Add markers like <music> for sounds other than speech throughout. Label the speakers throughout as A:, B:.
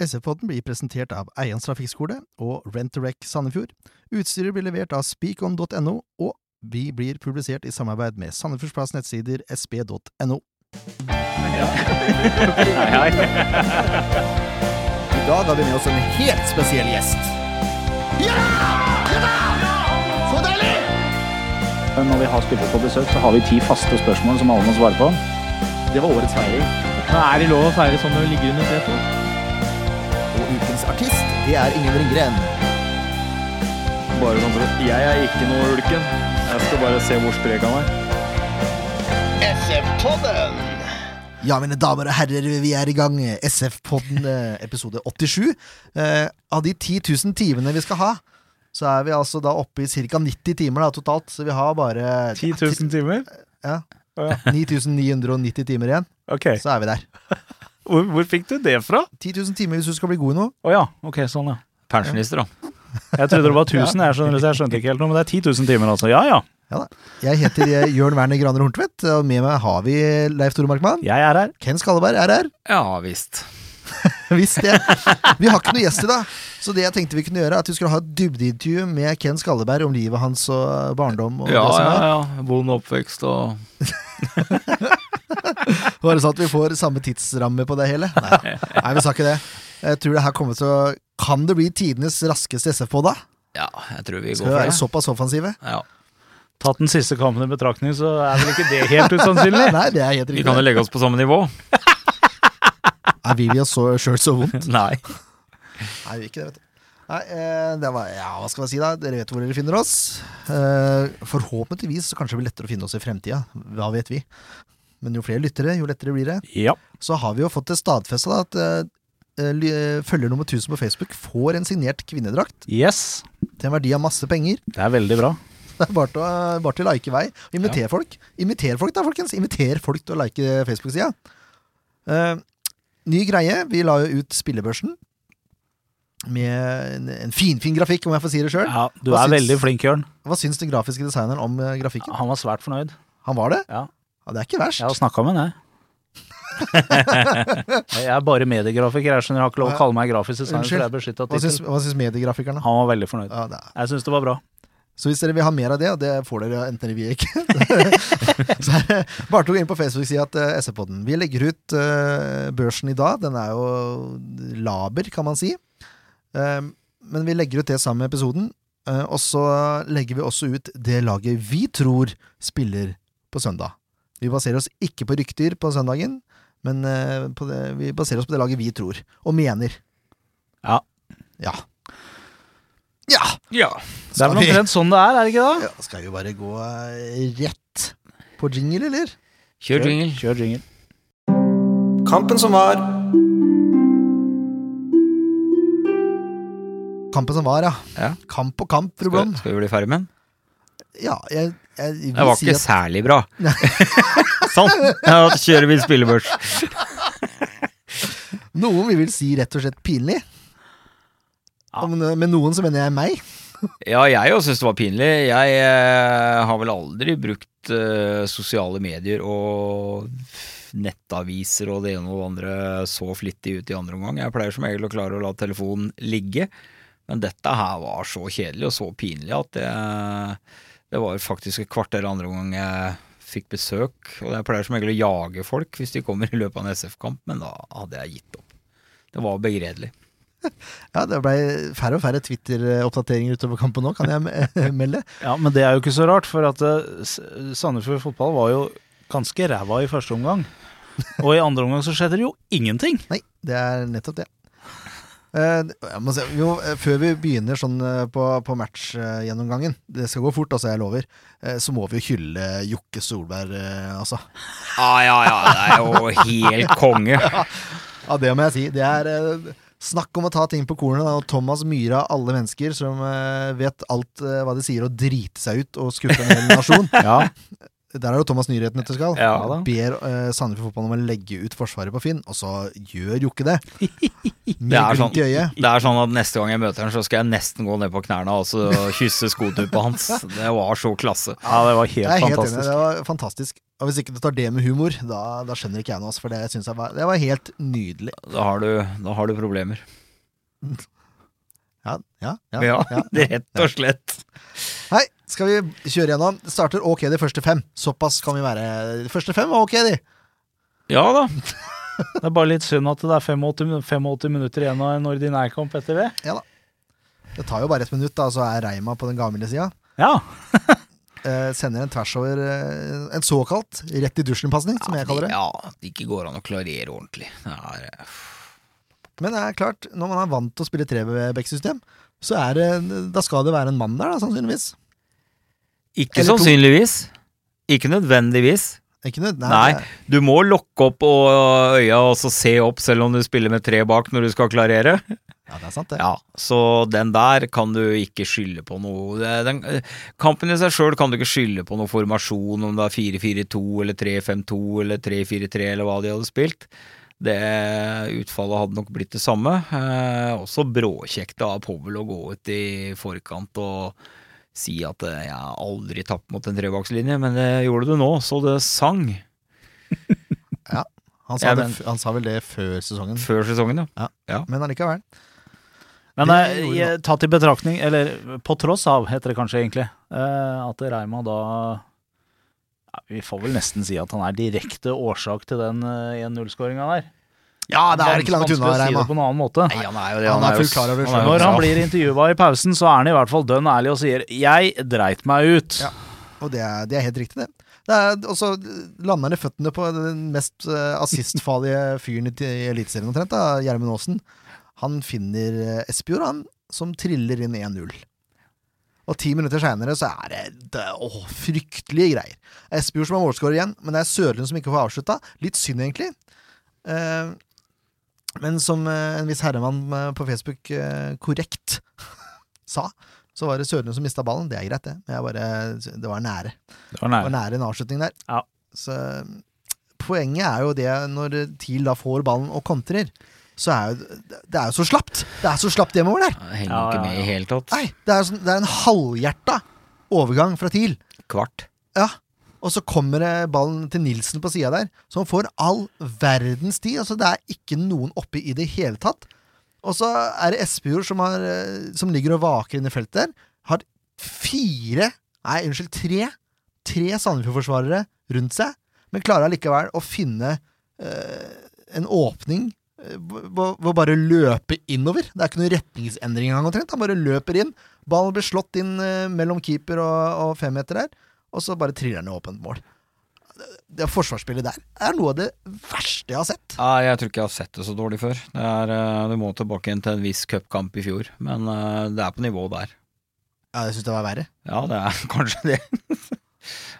A: SF-podden blir presentert av Eians trafikkskole og Rent-A-Wreck Sandefjord. Utstyret blir levert av speakon.no, og vi blir publisert i samarbeid med Sandefjordsplass nettsider sp.no.
B: I dag har vi med oss en helt spesiell gjest.
C: Eh,
D: Når vi har spillere på besøk, så har vi ti faste spørsmål som alle må svare på.
B: Det var årets feiring.
E: Er det lov å feire sånn når du ligger under treet?
B: Og ukens artist, det er Ingen Ringgren.
D: Bare sånn for at jeg er ikke noe ulken. Jeg skal bare se hvor sprek han er.
A: Ja, mine damer og herrer, vi er i gang. SF-podden eh, episode 87. Eh, av de 10 000 timene vi skal ha, så er vi altså da oppe i ca. 90 timer da, totalt. Så vi har bare
C: 10 000 timer?
A: Ja.
C: Å ja.
A: 9990 timer igjen,
C: Ok,
A: så er vi der.
C: hvor, hvor fikk du det fra?
A: 10 000 timer hvis du skal bli god i noe.
C: Å ja, ok, sånn ja.
F: Pensjonister, da.
C: Jeg trodde det var 1000, jeg skjønner, så jeg skjønte ikke helt noe, men det er 10 000 timer altså. Ja, ja,
A: Jeg heter eh, Jørn Werner Graner Horntvedt, og med meg har vi Leif Tore Markmann.
C: jeg er her.
A: Ken Skalleberg er her.
F: Ja visst.
A: Visst det. Vi har ikke noen gjest i dag, så det jeg tenkte vi kunne gjøre, er at vi skulle ha et dybdeintervju med Ken Skalleberg om livet hans og barndom. Og
F: Ja,
A: det som
F: ja,
A: er.
F: ja. Vond oppvekst og
A: Bare sånn at vi får samme tidsramme på det hele. Nei, Nei vi sa ikke det. Jeg tror det her kommer til å Kan det bli tidenes raskeste SF på da?
F: Ja, jeg tror vi går
A: Skal vi
F: for
A: være
F: det.
A: såpass offensive?
F: Ja.
C: Tatt den siste kampen i betraktning, så er vel ikke det helt usannsynlig?
A: Nei, det er helt
F: Vi
A: riktig.
F: kan jo legge oss på samme
A: <laughs>
F: nivå.
A: Er vi oss så- sjøl så
F: <laughs>
A: vondt?
F: Nei.
A: Nei, vi gjør ikke det, vet du. Nei, eh, det var, ja, hva skal man si da? Dere vet hvor dere finner oss. Eh, forhåpentligvis så kanskje det blir lettere å finne oss i fremtida. Hva vet vi? Men jo flere lyttere, jo lettere blir det.
C: Ja.
A: Så har vi jo fått det stadfesta at eh, ly- følger nummer 1000 på Facebook får en signert kvinnedrakt
C: Yes,
A: til en verdi av masse penger.
C: det er veldig bra.
A: Det er bare til, å- bare til å like i vei. Inviter folk. Inviter folk da, folkens. Inviter folk til å like Facebook-sida. Eh, ny greie. Vi la jo ut spillebørsen med en, en finfin fin grafikk, om jeg får si det sjøl.
C: Ja, du
A: Hva
C: er
A: syns-
C: veldig flink, Jørn.
A: Hva syns den grafiske designeren om eh, grafikken?
C: Han var svært fornøyd.
A: Han var det?
C: Ja.
A: Ja, det er ikke verst.
C: Jeg har snakket med han, jeg. Jeg er bare mediegrafiker, jeg skjønner jeg har ikke lov å kalle meg grafisk designer, for jeg er beskyttet av
A: Hva syns,
C: tittel.
A: hva syns mediegrafikerne?
C: Han var veldig fornøyd.
A: Ja, det er.
C: Jeg synes det var bra.
A: Så hvis dere vil ha mer av det, og det får dere enten dere vil ikke, <laughs> så er det bare til å gå inn på Facebook-sida til SV-podden. eh, Vi legger ut eh, børsen i dag. Den er jo laber, kan man si. Eh, men vi legger ut det sammen med episoden. eh, og så legger vi også ut det laget vi tror spiller på søndag. Vi baserer oss ikke på rykter på søndagen, men eh, på det, vi baserer oss på det laget vi tror, og mener.
C: Ja.
A: Ja. Ja!
F: Ja.
C: Det er vel omtrent sånn det er, er det ikke det?
A: <laughs> Ja, skal vi bare gå eh, rett på jingle, eller?
F: Kjør jingle.
C: Kjør jingle.
B: Kampen som var.
A: Kampen som var, ja.
F: Ja.
A: Kamp og kamp, fru
F: Skal,
A: Blom.
F: skal vi bli ferdig med den?
A: Ja, jeg, jeg vil
F: Det var
A: si
F: ikke
A: at
F: særlig bra. <laughs> sånn. Ja, da kjører vi spillebørs.
A: noen vi vil si rett og slett pinlig.
C: Ja.
A: Men eh, med noen så mener jeg meg.
F: Ja, jeg òg syns det var pinlig. Jeg eh, har vel aldri brukt eh, sosiale medier og nettaviser og det ene og det andre så flittig ut i andre omgang. Jeg pleier som regel å klare å la telefonen ligge, men dette her var så kjedelig og så pinlig at det, det var faktisk et kvarter andre omgang jeg fikk besøk. Og jeg pleier som regel å jage folk hvis de kommer i løpet av en SF-kamp, men da hadde jeg gitt opp. Det var begredelig.
A: Ja, Det blei færre og færre Twitter-oppdateringer utover kampen nå, kan jeg me- <laughs> melde.
C: Ja, men det er jo ikke så rart, for at eh, S- Sandefjord fotball var jo ganske ræva i første omgang. Og i andre omgang så skjedde det jo ingenting.
A: Nei, det er nettopp det. Eh, jeg må se, jo, eh, før vi begynner sånn eh, på, på matchgjennomgangen, det skal gå fort, altså, jeg lover, eh, så må vi jo hylle Jokke Solberg, eh, altså.
F: Ja, Ah, ja, ja, det er jo helt konge.
A: Ja, det må jeg si. Det er eh, snakk om å ta ting på kornet. da. Og Thomas Myhre av alle mennesker som eh, vet alt eh, hva de sier, og drite seg ut og skuffe en hel nasjon.
C: Ja,
A: Der er jo Thomas Nyheten etter skal.
F: Ja da.
A: Ber eh, Sandefjord Fotball om å legge ut Forsvaret på Finn, og så gjør jo ikke det. Med
F: Det er
A: glimt i øyet.
F: Det er sånn at Neste gang jeg møter han, så skal jeg nesten gå ned på knærne altså, og kysse skotuppa hans. Det var så klasse.
C: <laughs> Ja, det var helt,
A: Jeg er helt enig,
C: fantastisk.
A: det var fantastisk. Og hvis ikke du tar det med humor, da, da skjønner ikke jeg noe. altså, For det synes jeg var, det var helt nydelig.
F: Da har du, da har du problemer.
A: Ja, ja, ja,
F: Ja,
A: ja.
F: <laughs> rett og slett.
A: Hei, skal vi kjøre gjennom? Det Starter ok de første fem. Såpass kan vi være. De første fem var ok, de.
F: Ja da.
C: Det er bare litt synd at det er 85, min- 85 minutter igjen av en ordinær kamp etter det.
A: Det tar jo bare et minutt, da, så er Reima på den gamle sida.
C: Ja,
A: Eh, sender en tvers over eh, en såkalt rett i dusjen-pasning, som jeg kaller det.
F: Ja, at det ikke går an å klarere ordentlig. Det er, eh,
A: Men det er klart, når man er vant til å spille trebekksystem, så er det, da skal det være en mann der, da, sannsynligvis.
F: Ikke
A: Eller to.
F: sannsynligvis. Ikke nødvendigvis.
A: Ikke nød?
F: Nei, du må lokke opp og øya og så se opp selv om du spiller med tre bak når du skal klarere.
A: Ja, det er sant, det.
F: Ja, Så den der kan du ikke skylde på noe. Det- Den, kampen i seg sjøl kan du ikke skylde på noe formasjon, om det er 4-4-2 eller 3-5-2 eller 3-4-3 eller hva de hadde spilt. Det utfallet hadde nok blitt det samme. Eh, også bråkjekt av Powell å gå ut i forkant og si at eh, jeg har aldri tapt mot en trebakslinje, men det gjorde du nå, så det sang
A: Han sa,
F: Ja,
A: det,
F: men-
A: f- han sa vel det før sesongen,
F: før sesongen, ja.
A: men allikevel.
C: Men
A: Det
C: eh,
A: gjorde
C: jeg- tatt i betraktning, eller på tross av, heter det kanskje egentlig, eh, at Reima da ja, Vi får vel nesten si at han er direkte årsak til den eh, 1-0-skåringa der.
A: Ja, det er ikke langt
C: Vanskelig
A: unna,
C: å si det
A: Reima.
C: på en annen måte.
F: Nei, han er jo
A: Han er
F: jo-
A: fullt klar over det
F: er
A: selv.
F: jo-
C: Når han blir intervjua i pausen, så er han i hvert fall dønn ærlig og sier 'jeg dreit meg ut'.
A: Ja. Og det er, det er helt riktig, det. det er, og så lander han i føttene på den mest eh, assistfarlige fyren i, i Eliteserien omtrent, da, Gjermund Aasen. Han finner eh, Espejord, han, som triller inn 1-0. Og ti minutter seinere så er det, det åh, fryktelige greier. Espejord som har målskårer igjen, men det er Sørlund som ikke får avslutta. Litt synd, egentlig. Eh, men som eh, en viss herremann eh, på Facebook eh, korrekt <laughs> sa, så var det Sørlund som mista ballen. Det er greit, det. Men jeg bare, det var nære.
C: Det var
A: Det var
C: nær.
A: nære en avslutning der.
C: Ja.
A: Så um, poenget er jo det når TIL da får ballen og kontrer, så er jo det er jo så slapt! Det er så slapt hjemover der!
F: Jeg Henger
C: Ja,
F: ikke
C: ja,
F: med i
C: ja.
F: hele tatt.
A: Nei, det er, jo sånn, det er en halvhjerta overgang fra TIL.
F: Kvart.
A: Ja. Og så kommer det ballen til Nilsen på sida der, som får all verdens tid. Altså, det er ikke noen oppe i det hele tatt. Og så er det Espejord som, har, eh, som ligger og vaker inne i feltet der. Har fire, nei, unnskyld, tre tre Sandefjord-forsvarere rundt seg, men klarer allikevel å finne eh, en åpning eh, hvor hvor bare løpe innover. Det er ikke noen retningsendring engang, omtrent. Han bare løper inn. Ballen blir slått inn eh, mellom keeper og, og femmeter der, og så bare triller han i åpent mål. Det, det forsvarsspillet der er noe av det verste jeg har sett.
F: Nei, jeg tror ikke jeg har sett det så dårlig før. Det er, eh, du må tilbake igjen til en viss cupkamp i fjor, men eh, det er på nivå der.
A: Ja, jeg syns det var verre.
F: Ja, det er <laughs> kanskje det.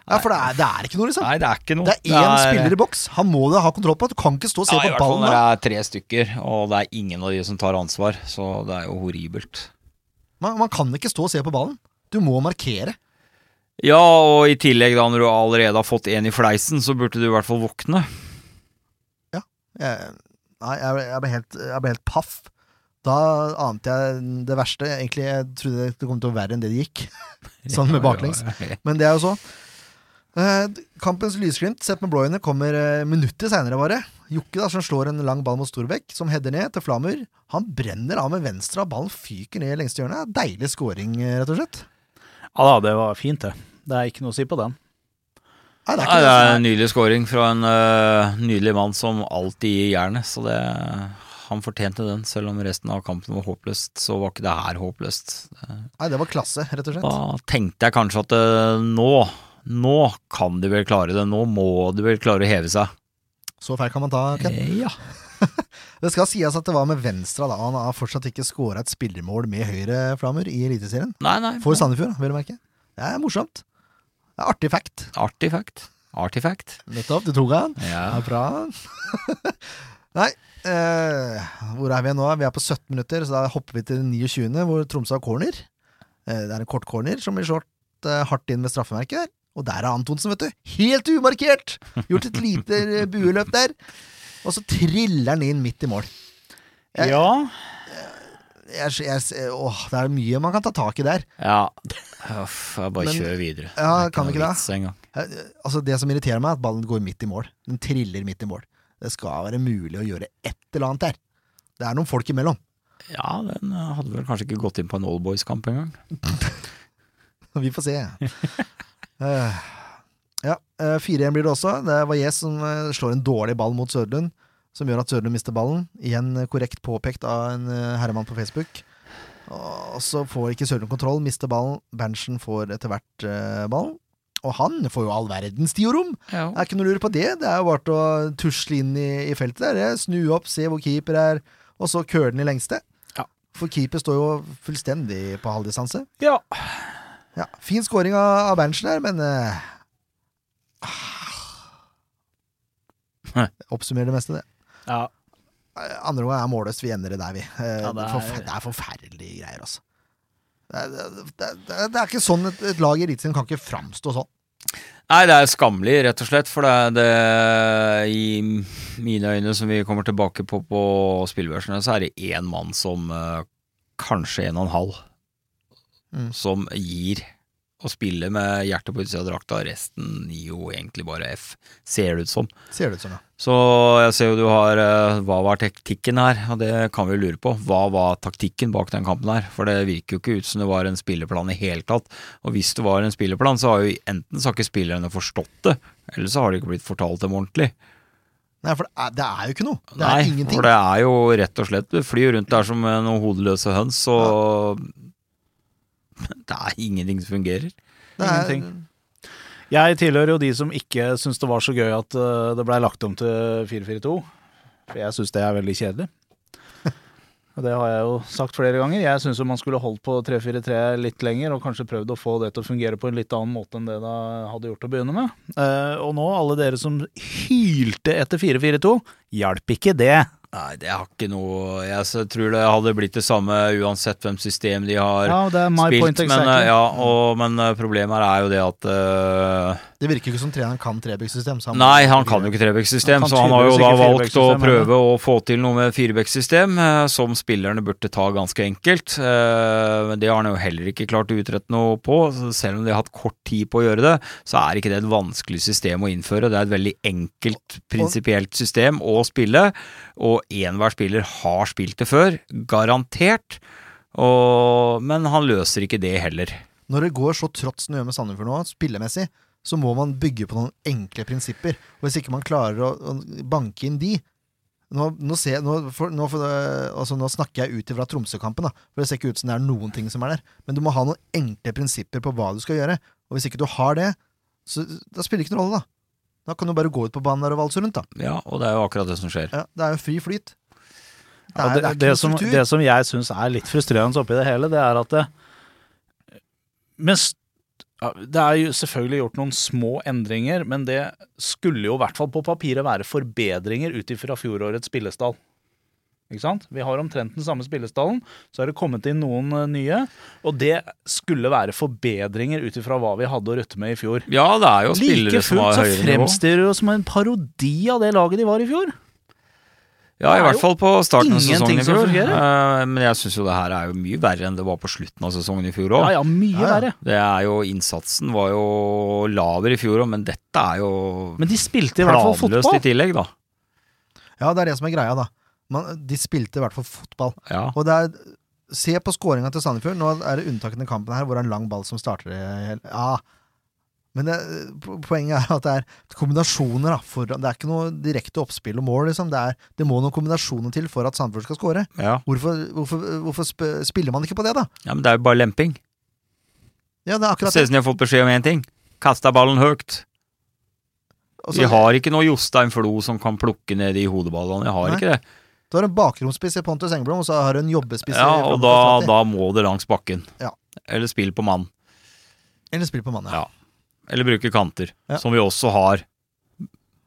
A: Ja, For det er, det er ikke noe, liksom.
F: Nei, det er ikke noe.
A: Det er én spiller i boks. Han må du ha kontroll på. Du kan ikke stå og se
F: ja, i
A: på
F: hvert fall
A: ballen.
F: når
A: da.
F: det er tre stykker, og det er ingen av de som tar ansvar, så det er jo horribelt.
A: Man, man kan ikke stå og se på ballen. Du må markere.
F: Ja, og i tillegg, da, når du allerede har fått én i fleisen, så burde du i hvert fall våkne.
A: Jeg, nei, jeg, ble- jeg, ble helt, jeg ble helt paff. Da ante jeg det verste. Egentlig jeg trodde det kom til å være verre enn det det gikk. <laughs> Sånn med baklengs. Men det er jo så. Eh, kampens lysglimt sett med blå øyne kommer eh, minutter seinere, bare. Jokke, da, som slår en lang ball mot Storbekk, som header ned til Flamur. Han brenner av med venstre, og ballen fyker ned i lengste hjørne. Deilig scoring, eh, rett og slett.
C: Ja da, det var fint, det. Det er ikke noe å si på den.
A: Nei, det er
F: Nei,
A: ikke
F: det
A: det.
F: er en nydelig scoring fra en eh, nydelig mann som alltid gir jernet. Så det, han fortjente den, selv om resten av kampen var håpløst. Så var ikke det her håpløst.
A: Nei, det var klasse, rett og
F: Da
A: slett.
F: tenkte jeg kanskje at eh, nå, nå kan de vel klare det. Nå må de vel klare å heve seg.
A: Så feil kan man ta. Ken.
F: Eh, Ja.
A: <laughs> Det skal sies at det var med venstre, da. Han har fortsatt ikke scora et spillermål med høyre Flamur i Eliteserien.
F: Nei, nei.
A: For Sandefjord, vil du merke. Det er morsomt. Det er artig fact.
F: Artifact. Artifact.
A: Nettopp, du tok han. Det
F: Ja.
A: er bra. <laughs> Nei, eh, hvor er vi nå? Vi er på 17 minutter, så da hopper vi til den 29., hvor Tromsø har corner. Eh, det er en kort corner som blir slått eh, hardt inn med straffemerket der. Og der er Antonsen, vet du. Helt umarkert! Gjort et lite eh, bueløp der. Og så triller han inn midt i mål. Jeg-
C: Ja.
A: Jeg, jeg, åh, det er mye man kan ta tak i der.
F: Ja. Uff, jeg bare
A: Men-
F: kjører videre.
A: Ja,
F: Det er
A: kan
F: noe
A: vi ikke det?
F: vits engang.
A: Jeg- Altså Det som irriterer meg, er at ballen går midt i mål. Den triller midt i mål. Det skal være mulig å gjøre et eller annet der. Det er noen folk imellom. <laughs>
F: Ja, den eh, hadde vel kanskje ikke gått inn på en Allboys-kamp engang.
A: Vi får se. Eh, ja, eh, 4-1 blir det også. Det var Yes som eh, slår en dårlig ball mot Sødlund, som gjør at Sødlund mister ballen. Igjen eh, korrekt påpekt av en eh, herremann på Facebook. Og så får ikke Sødlund kontroll, mister ballen. Berntsen får etter hvert eh, ballen. Og han får jo all verdens tid og rom!
F: Ja.
A: Det er ikke noe lure på det. Det er jo bare til å tusle inn i, i feltet der. det. Snu opp, se hvor keeper er, og så køle den i lengste.
F: Ja.
A: For keeper står jo fullstendig på halvdistanse.
C: Ja.
A: Ja, fin scoring av, av Berntsen der, men eh, ah. <laughs>
F: Nei.
A: Oppsummerer det meste, det.
C: Ja.
A: Eh, Andre gangen er målløst. Vi ender det der, vi. Eh,
C: Ja,
A: det,
C: det er-
A: er... Forfer det er forferdelige greier, altså. Det er, det, er, det er ikke sånn et, et lag i Eliteserien kan ikke framstå sånn.
F: Nei, det er skammelig, rett og slett. For det er det I mine øyne, som vi kommer tilbake på på spillebørsene, så er det én mann som eh, Kanskje en og en halv.
A: Mm.
F: Som gir å spille med hjertet på utsida av drakta. Resten gir jo egentlig bare F, ser det ut som.
A: Ser det ut som, ja.
F: Så jeg ser jo du har eh, Hva var taktikken her? Og det kan vi jo lure på. Hva var taktikken bak den kampen her? For det virker jo ikke ut som det var en spillerplan i hele tatt. Og hvis det var en spillerplan, så har jo enten så har ikke spillerne forstått det, eller så har det ikke blitt fortalt dem ordentlig.
A: Nei, for det er, det er jo ikke noe. Det
F: Nei,
A: er ingenting.
F: for det er jo rett og slett Du flyr rundt der som eh, noen hodeløse høns, og <laughs> Det er ingenting som fungerer.
A: Det er-
C: Ingenting. Jeg tilhører jo de som ikke syns det var så gøy at eh, det blei lagt om til 4-4-2. For jeg syns det er veldig kjedelig.
F: <laughs>
C: Og det har jeg jo sagt flere ganger. Jeg syns man skulle holdt på 3-4-3 litt lenger, og kanskje prøvd å få det til å fungere på en litt annen måte enn det det hadde gjort til å begynne med. Eh, og nå, alle dere som hylte etter 4-4-2, hjalp ikke det.
F: Nei, det har ikke noe Jeg s- tror det hadde blitt det samme uansett hvem system de har.
C: Ja, det er my
F: spilt,
C: point exactly.
F: men, eh, ja, og, men eh, problemet her er jo det at eh,
A: Det virker jo ikke som treneren kan trebyggsystem.
F: Nei, han kan jo ikke Trebekk-system,
C: Han kan
F: så han har jo
C: tydeligvis
F: da
C: ikke
F: valgt å
C: firebekksystem,
F: prøve å få til noe med firebekk-system, eh, som spillerne burde ta ganske enkelt. Eh, Men det har han jo heller ikke klart å utrette noe på. så Selv om de har hatt kort tid på å gjøre det, så er ikke det et vanskelig system å innføre. Det er et veldig enkelt, prinsipielt system å spille, og enhver spiller har spilt det før, garantert. Og, men han løser ikke det heller.
A: Når det går så trått som det gjør med Sandefjord nå, spillemessig, så må man bygge på noen enkle prinsipper. Og hvis ikke man klarer å, å banke inn de Nå, nå, ser, jeg- nå, for, nå, for, altså, nå snakker jeg ut ifra Tromsø-kampen, da, for det ser ikke ut som det er noen ting som er der. Men du må ha noen enkle prinsipper på hva du skal gjøre. Og hvis ikke du har det, så da spiller det ikke noen rolle, da. Da kan du bare gå ut på banen der og valse rundt, da.
F: Ja, og det er jo akkurat det som skjer.
A: Ja, det er jo fri flyt. Det
C: Ja, det,
A: er- det
C: det,
A: er ikke noen
C: som,
A: struktur.
C: det som jeg syns er litt frustrerende oppi det hele, det er at det, men s- ja, det er jo selvfølgelig gjort noen små endringer, men det skulle jo i hvert fall på papiret være forbedringer ut ifra fjorårets spillestall. Ikke sant? Vi har omtrent den samme spillestallen, så er det kommet inn noen eh, nye. Og det skulle være forbedringer ut ifra hva vi hadde å rutte med i fjor.
F: Ja, det er jo spillere
C: Like
F: som har
C: fullt så
F: høyere nivå.
C: fremstiller det jo som en parodi av det laget de var i fjor.
F: Ja,
C: Det
F: i
C: er
F: hvert fall på starten av
C: ingenting
F: sesongen i
C: som
F: fjor.
C: fungerer.
F: Eh, Men jeg syns jo det her er jo mye verre enn det var på slutten av sesongen i fjor òg.
C: Ja ja, mye
A: Ja, ja.
C: verre.
F: Det er jo Innsatsen var jo laver i fjor òg, men dette er jo
C: Men de spilte i hvert fall
F: planløst
C: fotball.
F: i tillegg, da.
A: Ja, det er det som er greia, da. Man, de spilte i hvert fall fotball.
F: Ja.
A: Og det er, se på skåringa til Sandefjord. Nå er det unntakene i kampen her hvor det er en lang ball som starter det hele. Ja. Men det, po- poenget er at det er kombinasjoner. Da, for, det er ikke noe direkte oppspill og mål. Liksom. Det, er, det må noen kombinasjoner til for at Sandefjord skal skåre.
F: Ja.
A: Hvorfor, hvorfor, hvorfor sp- spiller man ikke på det, da?
F: ja, men det er jo bare lemping.
A: Ja, det er
F: Det
A: akkurat
F: ser
A: det.
F: ut som de har fått beskjed om én ting. Kasta ballen høyt.
A: Og
F: Vi
A: så-
F: har ikke noe Jostein Flo som kan plukke ned de hodeballene. Jeg har
A: Nei.
F: ikke det.
A: Da har du en bakromsspiss i Pontus Engblom, og så har du en jobbespiss
F: Ja,
A: i
F: Og
A: Franco
F: da,
A: Strati.
F: da må det langs bakken.
A: Ja.
F: Eller spill på mann.
A: Eller spill på mannen.
F: Ja. Eller bruke kanter,
A: Ja.
F: som vi også har.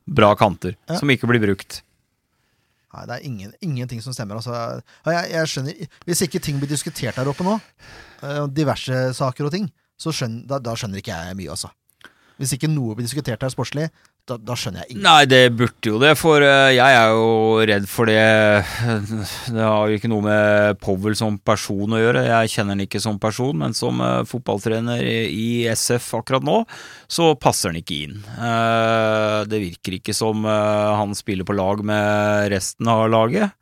F: Bra kanter,
A: Ja.
F: som ikke blir brukt.
A: Nei, det er ingen, ingenting som stemmer. Altså, Ja, jeg, jeg skjønner, hvis ikke ting blir diskutert der oppe nå, eh, diverse saker og ting, så skjønner, da, da skjønner ikke jeg mye, altså. Hvis ikke noe blir diskutert her sportslig, da, da skjønner jeg ingenting.
F: Nei, det burde jo det, for eh, jeg er jo redd for det Det har jo ikke noe med Powell som person å gjøre. Jeg kjenner han ikke som person, men som eh, fotballtrener i i SF akkurat nå, så passer han ikke inn. Eh, Det virker ikke som eh, han spiller på lag med resten av laget.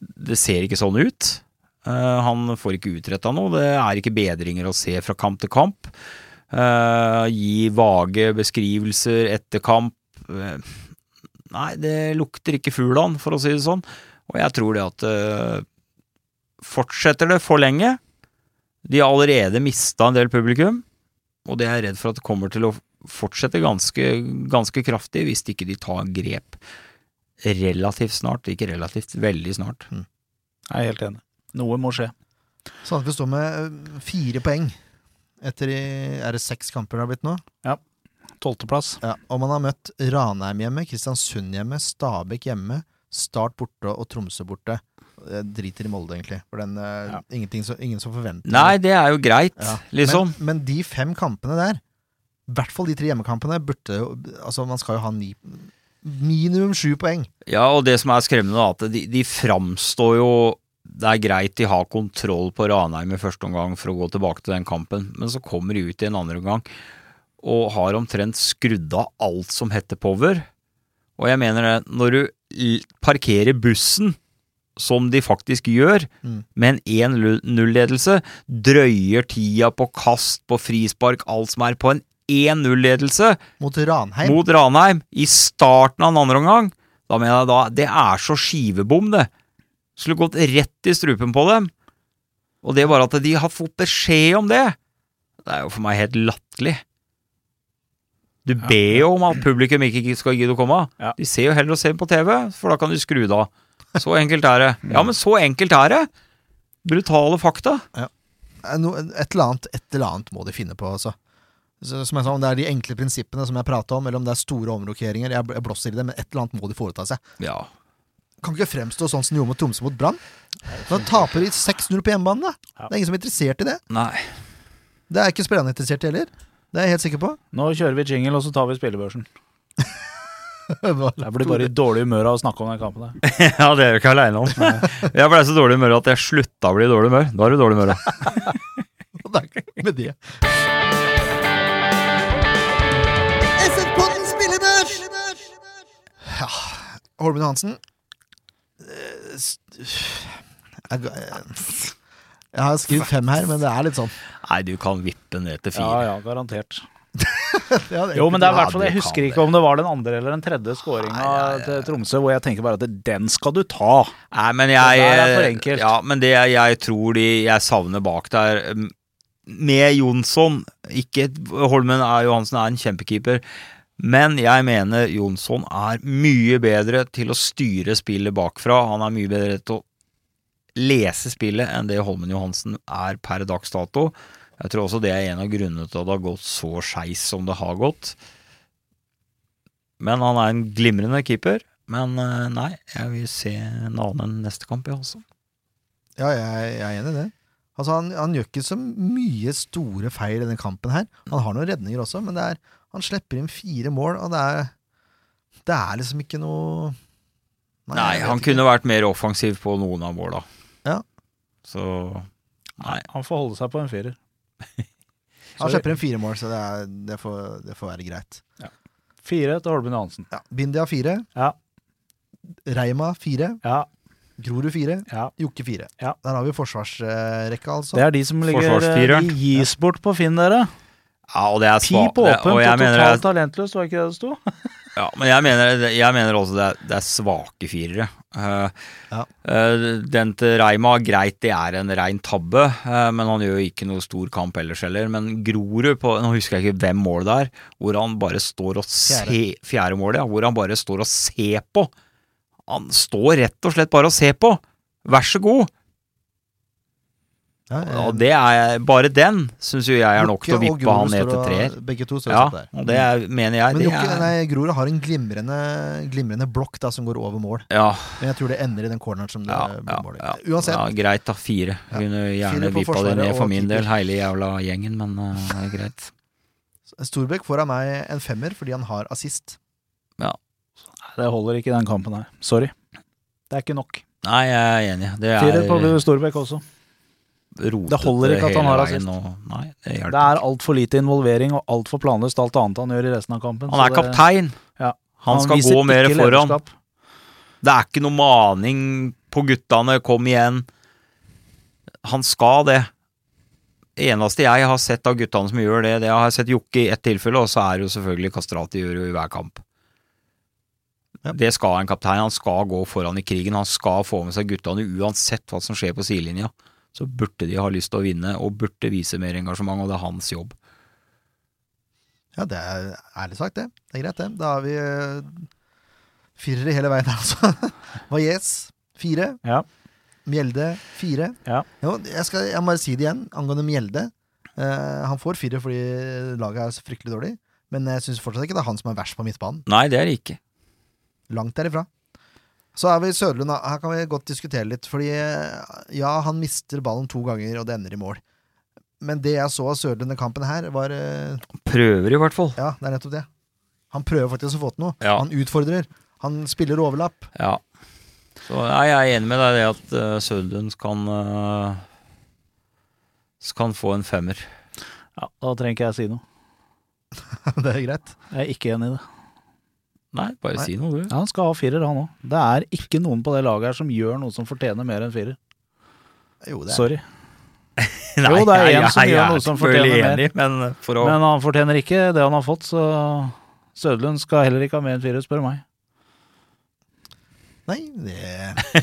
F: Det ser ikke sånn ut. Eh, Han får ikke utretta noe. Det er ikke bedringer å se fra kamp til kamp. Eh, gi vage beskrivelser etter kamp. Eh, Nei, det lukter ikke fugl av han, for å si det sånn. Og jeg tror det at eh, fortsetter det for lenge De har allerede mista en del publikum, og det er jeg redd for at det kommer til å fortsette ganske, ganske kraftig hvis ikke de tar grep relativt snart. Ikke relativt, veldig snart.
C: Jeg er helt enig. Noe må skje.
A: Sandefjord Sånn står med øh, fire poeng etter i, Er det seks kamper det har blitt nå?
C: Tolvteplass.
A: Ja, og man har møtt Ranheim hjemme, Kristiansund hjemme, Stabæk hjemme, Start borte og Tromsø borte. Jeg driter i Molde, egentlig. For den, eh,
C: Ja.
A: ingenting som- ingen som forventer
F: Nei, det er jo greit,
A: Ja.
F: liksom.
A: Men, men de fem kampene der, i hvert fall de tre hjemmekampene, burde jo Altså, man skal jo ha ni Minimum sju poeng.
F: Ja, og det som er skremmende, er at de, de framstår jo Det er greit de har kontroll på Ranheim i første omgang for å gå tilbake til den kampen, men så kommer de ut i en andre omgang og har omtrent skrudd av alt som heter power. Og jeg mener det, når du l- parkerer bussen, som de faktisk gjør,
A: Mm.
F: med en 1-0-ledelse, drøyer tida på kast, på frispark, alt som er på en 1-0-ledelse,
A: Mot Ranheim.
F: mot Ranheim i starten av den andre omgang, da mener jeg da Det er så skivebom, det. Skulle gått rett i strupen på dem. Og det bare at de har fått beskjed om det, det er jo for meg helt latterlig. Du ber jo om at publikum ikke skal gidde å komme.
C: Ja.
F: De ser jo heller å se på TV, for da kan de skru det av. Så enkelt er det. <laughs> Ja, men så enkelt er det! Brutale fakta.
A: Eh, no- Et eller annet, et eller annet må de finne på, altså. Så, som jeg sa, om det er de enkle prinsippene som jeg prata om, eller om det er store omrokeringer, jeg, jeg blåser i det, men et eller annet må de foreta seg.
F: Ja.
A: kan ikke fremstå sånn som de gjorde mot Tromsø mot Brann. Da taper de 6-0 på hjemmebane. da.
C: Ja.
A: Det er ingen som er interessert i det.
F: Nei.
A: Det er ikke spillerne interessert i heller. Det er jeg helt sikker på. <laughs>
C: Nå kjører vi jingle, og så tar vi spillebørsen. Jeg blir bare i dårlig humør av å snakke om den kampen. der.
F: <laughs> Ja, det er du ikke aleine om. <laughs> Jeg ble så dårlig i humør at jeg slutta å bli i dårlig humør. Da er du dårlig i humør.
A: Med det.
B: SF-podden spillebørs!
A: Holmen Johansen Eh, s- <sighs> Jeg eh, jeg har skrevet fem her, men det er litt sånn.
F: Nei, du kan vippe ned
C: Ja,
F: til fire.
C: ja, garantert.
A: Ja, det er
C: Jo, men det er i hvert fall
F: Ja,
C: Jeg
F: du
C: husker
F: kan
C: ikke om det var den andre eller den tredje skåringa til Tromsø, hvor jeg tenker bare at den skal du ta.
F: Nei, men
C: Det der er for
F: jeg
C: enkelt.
F: Ja, men det jeg, jeg tror de jeg savner bak der mm, Med Jonsson Ikke Holmen er, Johansen er en kjempekeeper. Men jeg mener Jonsson er mye bedre til å styre spillet bakfra. Han er mye bedre til å lese spillet enn det Holmen Johansen er per dags dato. Jeg tror også det er en av grunnene til at det har gått så skeis som det har gått. Men han er en glimrende keeper. Men eh, nei, jeg vil se en annen neste kamp, jeg også.
A: Ja, jeg, jeg er enig i det. Altså, han, han gjør ikke så mye store feil i den kampen her. Han har noen redninger også, men det er, han slipper inn fire mål, og det er, det er liksom ikke noe
F: Nei,
A: jeg vet
F: han
A: ikke.
F: kunne vært mer offensiv på noen av måla.
A: Ja.
F: Så Nei.
C: Han får holde seg på en <laughs> firer.
A: Han slipper inn fire mål, så det, er, det, får, det får være greit.
C: Fire til Holmen Johansen.
A: Ja. Bindia fire.
C: Ja.
A: Reima fire.
C: Ja,
A: Grorud fire.
C: ja.
A: Jokke fire.
C: Ja.
A: Der har vi forsvarsrekka, altså.
C: Det er de som ligger eh, De
F: Forsvarsfireren.
C: gis bort på Finn, dere.
F: Ja, og det er sva-
C: Pip åpent
F: det- og
C: og
F: jeg mener,
C: totalt
F: det
C: talentløs, var ikke det det sto?
F: er- ja, Men jeg mener, jeg mener også det er, det er svake firere. Eh,
A: Ja.
F: eh, den til Reima, greit, det er en rein tabbe, eh, men han gjør jo ikke noe stor kamp ellers heller. Men Grorud, på, nå husker jeg ikke hvem målet det er, hvor han bare står og se Fjerde målet, ja. Hvor han bare står og ser på. Han står rett og slett bare og ser på. Vær så god.
A: Ja, eh,
F: Og det er bare den syns jo jeg er nok til å
A: Jokke og
F: vippe han
A: Grorud
F: ned
A: står
F: til
A: og-
F: treer.
A: Begge to står
F: Ja,
A: og setter der.
F: og det er, mener jeg.
A: Men
F: Det
A: Jokke,
F: er,
A: nei, Grorud har en glimrende, glimrende blokk da, som går over mål.
F: ja,
A: Men jeg tror det ender i den corneren som det
F: ja, ja,
A: blir mål i.
F: ja,
A: Uansett,
F: ja, greit da, fire.
A: Ja.
F: Kunne
A: Fire
F: gjerne
A: på
F: vippa det
A: forsvaret
F: ned for
A: og
F: min
A: keeper.
F: del, hele jævla gjengen, men eh, det er greit.
A: Storbekk får av meg en femmer fordi han har assist.
C: Det holder ikke i den kampen her. Sorry. Det er ikke nok.
F: Nei, jeg er enig. Det er
C: Firer på Storbekk også.
F: rotete
C: Det holder ikke at han
F: hele
C: har
F: veien
C: assist.
F: og- Nei, det
C: Det
F: hjelper.
C: er altfor lite involvering og altfor planløst alt annet han gjør i resten av kampen.
F: Han
C: så
F: er
C: altså det-
F: kaptein.
C: Ja.
F: Han skal
C: viser
F: gå mer
C: ikke
F: foran.
C: lederskap.
F: Det er ikke noe maning på guttene, kom igjen. Han skal det. Det eneste jeg har sett av guttene som gjør det, det har jeg sett Jokke i ett tilfelle, og så er det jo selvfølgelig Kastrati gjør det i hver kamp. Det skal en kaptein. Han skal gå foran i krigen. Han skal få med seg guttene uansett hva som skjer på sidelinja. Så burde de ha lyst til å vinne, og burde vise mer engasjement, og det er hans jobb.
A: Ja, det er ærlig sagt, det. Det er greit, det. Da har vi eh, firere hele veien her, altså. <laughs> Valles fire.
C: Ja.
A: Mjelde fire.
C: Ja.
A: Jo, jeg, skal, jeg må bare si det igjen angående Mjelde. Eh, han får fire fordi laget er så fryktelig dårlig, men jeg syns fortsatt ikke det er han som er verst på midtbanen.
F: Nei, det er det ikke.
A: Langt derifra. Så er vi i Søderlund. da. Her kan vi godt diskutere litt. Fordi eh, ja, han mister ballen to ganger, og det ender i mål. Men det jeg så av Søderlund i kampen her, var eh,
F: Prøver, i hvert fall.
A: Ja, det er nettopp det. Han prøver faktisk å få til noe.
F: Ja.
A: Han utfordrer. Han spiller overlapp. <laughs>
F: Ja. Så nei, jeg er enig med deg i det at uh, Søderlund kan eh, Skal få en femmer.
C: Ja, da trenger ikke jeg si noe.
A: det er greit.
C: Jeg er ikke enig i det.
F: Nei, bare
A: Nei.
F: si noe,
C: <laughs>
F: du.
C: Ja, han skal ha firer, han òg. Det er ikke noen på det laget her som gjør noe som fortjener mer enn firer.
A: Jo, det er
C: Sorry. Jo, det er
F: jeg-
C: en som
F: jeg
C: gjør
F: er
C: noe som
F: selvfølgelig
C: fortjener mer.
F: enig, Men for å
C: Men han fortjener ikke det han har fått, så Søderlund skal heller ikke ha mer enn firer, spør du meg.
A: Nei, det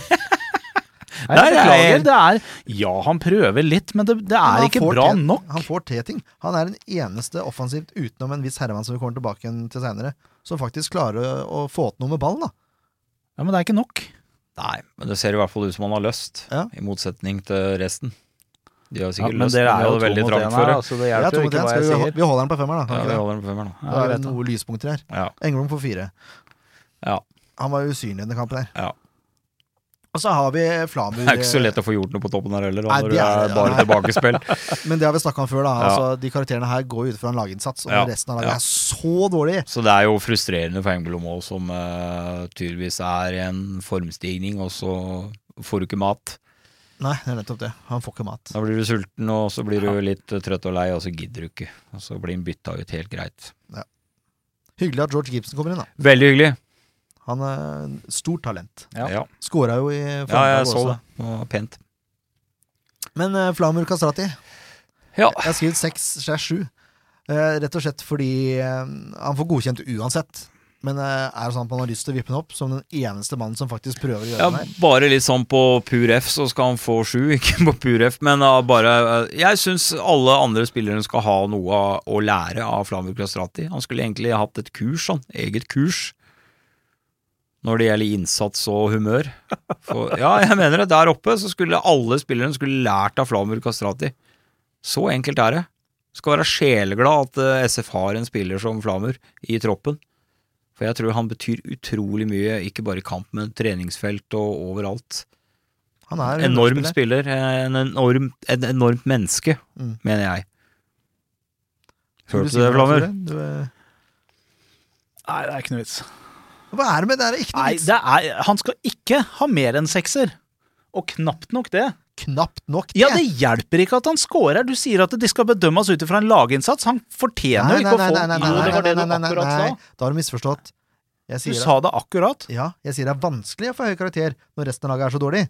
C: Nei,
F: Nei,
C: jeg
F: det er-
C: beklager. Det er Ja, han prøver litt, men det, det
A: Han
C: er ikke
A: får
C: bra
A: til-
C: nok.
A: Han får til ting. Han er den eneste offensivt utenom en viss herremann som vi kommer tilbake igjen til seinere, som faktisk klarer å å få til noe med ballen, da.
C: Ja, Men det er ikke nok.
F: Nei, men det ser i hvert fall ut som han har lyst,
A: Ja.
F: i motsetning til resten. De har
C: Ja,
F: sikkert
C: men
F: lyst,
C: dere er jo
F: de hadde
C: to
F: veldig
C: mot
F: trangt
C: en
F: for
C: her,
F: det.
C: altså det
A: Jeg
C: hjelper
A: tror
C: jo
A: det,
C: ikke hva
A: skal
C: jeg
A: vi,
C: sier.
A: hol- vi holder den på femmeren, da.
F: Ja,
A: Kan vi
F: vi
A: ikke det?
F: holder den på femmeren, da.
C: Ja,
A: Da er
C: greit
A: det
C: da.
A: noen lyspunkter her.
F: Ja.
A: Engblom får fire.
F: Ja.
A: Han var usynlig i denne kampen her.
F: Ja.
A: Og så har vi Flamur.
F: Det er ikke så lett å få gjort noe på toppen her heller, da,
A: Nei,
F: når
A: det
F: det
A: er-
F: er bare
A: nei.
C: <laughs>
F: tilbakespill.
A: Men det har vi snakka om før. da
F: Ja.
A: altså, De karakterene her går ut fra en laginnsats, og
F: Ja.
A: resten av laget
F: Ja.
A: er så dårlig.
F: Så det er jo frustrerende for Engblom òg, som eh, tydeligvis er i en formstigning, og så får du ikke mat.
A: Nei, det er nettopp det. Han får ikke mat.
F: Da blir du sulten, og så blir du litt eh, trøtt og lei, og så gidder du ikke. Og så blir han bytta ut helt greit.
A: Hyggelig at George Gibson kommer inn. da
F: Veldig hyggelig.
A: Han er stort talent.
F: Ja, ja.
A: Skåra jo i
F: jeg så det. Det var pent.
A: Men eh, Flamur Kastrati
F: Ja.
A: Jeg har skrevet seks skjær sju. Eh, rett og slett fordi eh, han får godkjent uansett. Men eh, er det sånn at man har lyst til å vippe den opp som den eneste mannen som faktisk prøver å gjøre
F: Ja,
A: den her?
F: bare litt sånn på pur F, så skal han få sju. <laughs> Ikke på pur F, men da bare eh, Jeg syns alle andre spillere skal ha noe å lære av Flamur Kastrati. Han skulle egentlig hatt et kurs, han. Eget kurs. Når det gjelder innsats og humør. For, ja, jeg mener det. Der oppe så skulle alle spillerne skulle lært av Flamur Kastrati. Så enkelt er det. Skal være sjeleglad at eh, SF har en spiller som Flamur i troppen. For jeg tror han betyr utrolig mye, ikke bare i kamp, men treningsfelt og overalt.
A: Han er en
F: Enorm
A: underspiller.
F: spiller, en enorm, en enormt menneske,
A: Mm.
F: mener jeg.
A: Skulle
F: Hørte
A: si
F: du det,
A: noe,
F: Flammer?
A: Tore? Du, eh,
C: Nei, det er ikke noe vits.
A: Hva er det med det? Det er ikke noe
C: Nei,
A: vits.
C: det er, han skal ikke ha mer enn sekser. Og knapt nok det.
A: Knapt nok
C: Ja, det hjelper ikke at han scorer. Du sier at de skal bedømmes ut ifra en laginnsats. Han fortjener jo ikke å få Jo, det var det du akkurat sa.
A: Da har du misforstått. Jeg
C: Du
A: sier,
C: sa det akkurat.
A: at, ja, jeg sier det er vanskelig å få høy karakter når resten av laget er så dårlig.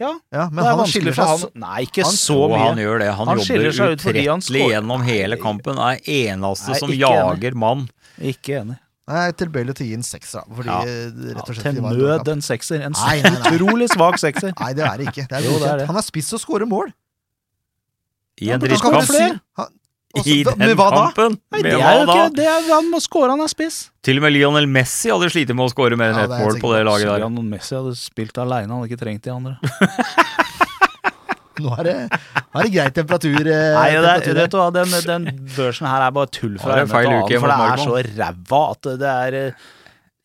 C: Ja,
A: men
C: det er
A: han
C: vanskelig
A: skiller
C: for
A: seg
C: han
A: så-
C: Nei, ikke
A: han-
C: så
F: Og
C: mye.
F: han gjør det. Han,
C: Han skiller
F: jobber
C: seg ut fordi han
F: utrettelig
C: scorer.
F: gjennom hele kampen. Er eneste
C: Nei,
F: som
C: ikke
F: jager mann.
C: Ikke enig.
A: Nei, Jeg er tilbøyelig til å gi en sekser, da, fordi
F: Ja.
A: eh,
C: Ja,
A: rett og slett
C: til
A: de var en dårlig
C: nød
A: kamp.
C: en sekser. En
A: Nei, nei, nei.
C: utrolig
A: <laughs>
C: svak sekser.
A: Nei, det er det ikke. Det er
C: Jo, det er
A: godkjent.
C: det.
A: Han er spiss og scorer mål.
F: I en
A: men da kan
F: drittkamp.
A: du si- Han- Også-
F: I
A: hva-
F: den
A: Med hva da?
F: kampen!
C: Nei, det
F: Med
C: er jo
F: hva da?
C: ikke det er, Han må score, han er spiss.
F: Til og med Lionel Messi hadde slitt med å skåre mer enn
A: Ja,
F: ett
A: det er jeg
F: mål på det laget der.
C: Sørjan Messi hadde spilt aleine, han hadde ikke trengt de andre.
A: Nå er det, nå er det grei temperatur. eh,
C: Nei, det, er-
A: temperatur her.
C: vet du hva, den, den børsen her er bare tull
F: Ja,
C: fra
F: det er
C: ende
F: feil
C: til
F: uke
C: annen,
F: hjemme
C: for det
F: hos
C: er så ræva at det er eh,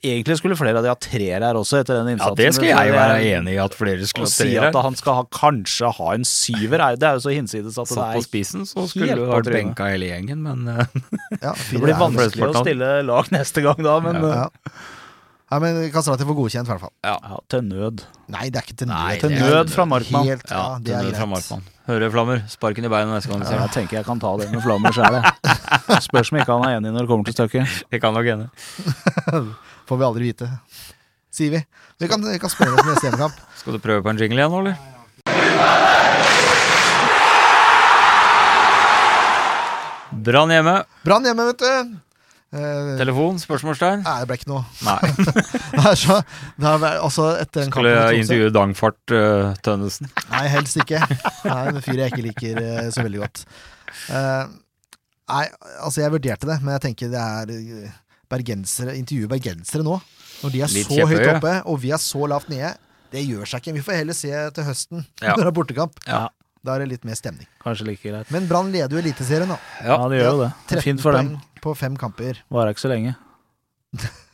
C: Egentlig skulle flere av de ha treer her også, etter den
F: Ja,
C: innsatsen. eh,
F: det skal jeg være enig i at flere
C: Å
F: skulle
C: si
F: ha
C: at
F: treere.
C: han skal ha, kanskje ha en syver, er- det er jo så hinsides at det
F: Satt på
C: er
F: spissen, så skulle
C: helt
F: du
C: på
F: vært
C: trynet.
F: benka hele gjengen, men eh,
A: Ja,
C: Det
A: fire
C: blir
A: er jo-
C: vanskelig å stille lag neste gang da, men eh,
A: Ja.
C: ja.
A: Nei, men Kastrati får godkjent, i hvert fall.
C: til nød.
A: Nei, det er ikke til nød.
F: Nei,
A: til
F: det er
C: Nød fra Markmann.
A: Helt, ja, det er
F: denne fra
A: greit.
F: Markmann. Høreflammer, sparken i beinet neste gang du
C: Ja,
F: ser
C: jeg tenker jeg kan ta det med flammer <laughs> sjæl, jeg. Spørs om ikke han er enig når det kommer til stykket.
F: det. Det kan nok hende.
A: Får vi aldri vite. Sier vi. Vi kan, vi kan spørre oss neste hjemmekamp.
F: Skal du prøve på en jingle igjen nå, eller? Brann hjemme.
A: Brann hjemme, vet du. Eh,
F: Telefon? Spørsmålstegn?
A: nei, det ble ikke noe. <laughs>
F: Nei.
A: Det er så, det er, vel- altså, etter den
F: Skulle
A: kampen mot Tromsø-
F: intervjue Dangfart uh, Tønnesen.
A: Nei, helst ikke. Nei, en fyr jeg ikke liker eh, så veldig godt. Eh, nei, altså jeg vurderte det, men jeg tenker det er eh, bergensere, intervjue bergensere nå. Når de er
F: Litt
A: så høyt
F: kjepphøye.
A: oppe, og vi er så lavt nede. Det gjør seg ikke. Vi får heller se til høsten, <laughs>
F: Ja.
A: når det er bortekamp.
F: Ja.
A: Da er det litt mer stemning.
C: Kanskje like greit.
A: Men Brann leder jo Eliteserien nå.
C: Ja, det gjør jo det. Det er
A: 13
C: Fint for dem.
A: poeng på fem kamper.
C: Varer ikke så lenge.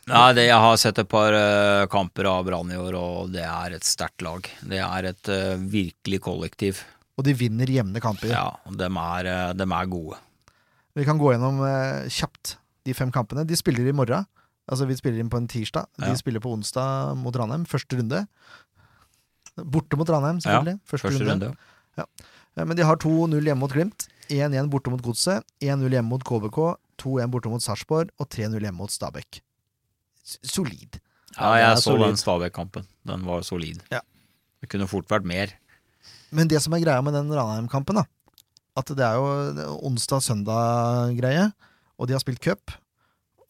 F: Nei, det, jeg har sett et par eh, kamper av Brann i år, og det er et sterkt lag. Det er et eh, virkelig kollektiv.
A: Og de vinner jevne kamper.
F: Ja, og dem er, eh, dem er gode.
A: Vi kan gå gjennom eh, kjapt de fem kampene. De spiller i morgen. Altså, vi spiller inn på en tirsdag. De
F: Ja.
A: spiller på onsdag mot Ranheim, første runde. Borte mot Ranheim, selvfølgelig. første,
F: Første
A: runde.
F: runde.
A: Eh, Men de har 2-0 hjemme mot Glimt, 1-1 borte mot Godset, 1-0 hjemme mot KBK, 2-1 borte mot Sarpsborg og 3-0 hjemme mot Stabæk. S- Solid.
F: Ja,
C: det er
F: jeg så
C: solid.
F: den Stabæk-kampen. Den var solid.
A: Ja.
F: Det kunne fort vært mer.
A: Men det som er greia med den Ranheim-kampen, da, at det er jo onsdag-søndag-greie, og de har spilt cup,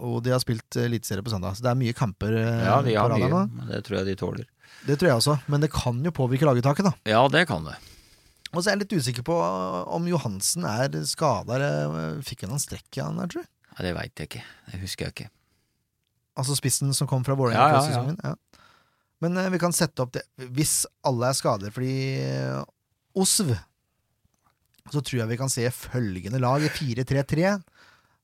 A: og de har spilt eh, eliteserie på søndag, så det er mye kamper eh,
F: Ja, de
A: på
F: har
A: radaren
F: mye,
A: nå.
F: men det tror jeg de tåler.
A: Det tror jeg også, men det kan jo påvirke lagetaket, da.
F: Ja, det kan det.
A: Og så er jeg litt usikker på om Johansen er skada eller Fikk han en strekk igjen, tror du?
F: Ja, det veit jeg ikke. Det husker jeg ikke.
A: Altså spissen som kom fra Vålerenga
F: Ja, ja,
A: før sesongen. Ja. Men eh, vi kan sette opp det Hvis alle er skader fordi eh, Osv, så tror jeg vi kan se følgende lag i 4-3-3.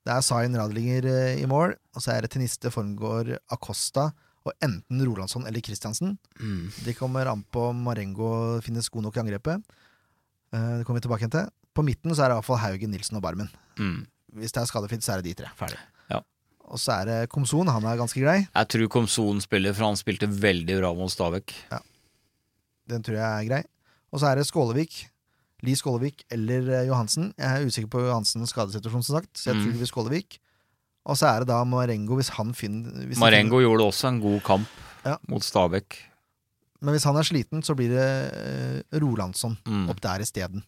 A: Det er Zain Radlinger eh, i mål, og så er det Teniste Formgård Acosta og enten Rolandsson eller Christiansen.
F: Mm.
A: Det kommer an på om Marengo finnes god nok i angrepet. Eh, Det kommer vi tilbake igjen til. På midten så er det iallfall Haugen, Nilsen og Barmen.
F: Mm.
A: Hvis det er skadefritt, så er det de tre. Ferdig.
F: Ja.
A: Og så er det Komson, han er ganske grei.
F: Jeg tror Komson spiller, for han spilte veldig bra mot Stabæk.
A: Den tror jeg er grei. Og så er det Skålevik. Li Skålevik eller eh, Johansen. Jeg er usikker på Johansens skadesituasjon, som sagt, så jeg
F: Mm.
A: tror det blir Skålevik. Og så er det da Marengo, hvis han finner hvis han
F: Marengo gjorde også en god kamp
A: Ja.
F: mot Stabæk.
A: finner- Men hvis han er sliten, så blir det eh, Rolandsson
F: Mm.
A: opp der isteden.